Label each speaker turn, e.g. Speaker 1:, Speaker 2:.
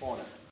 Speaker 1: on it.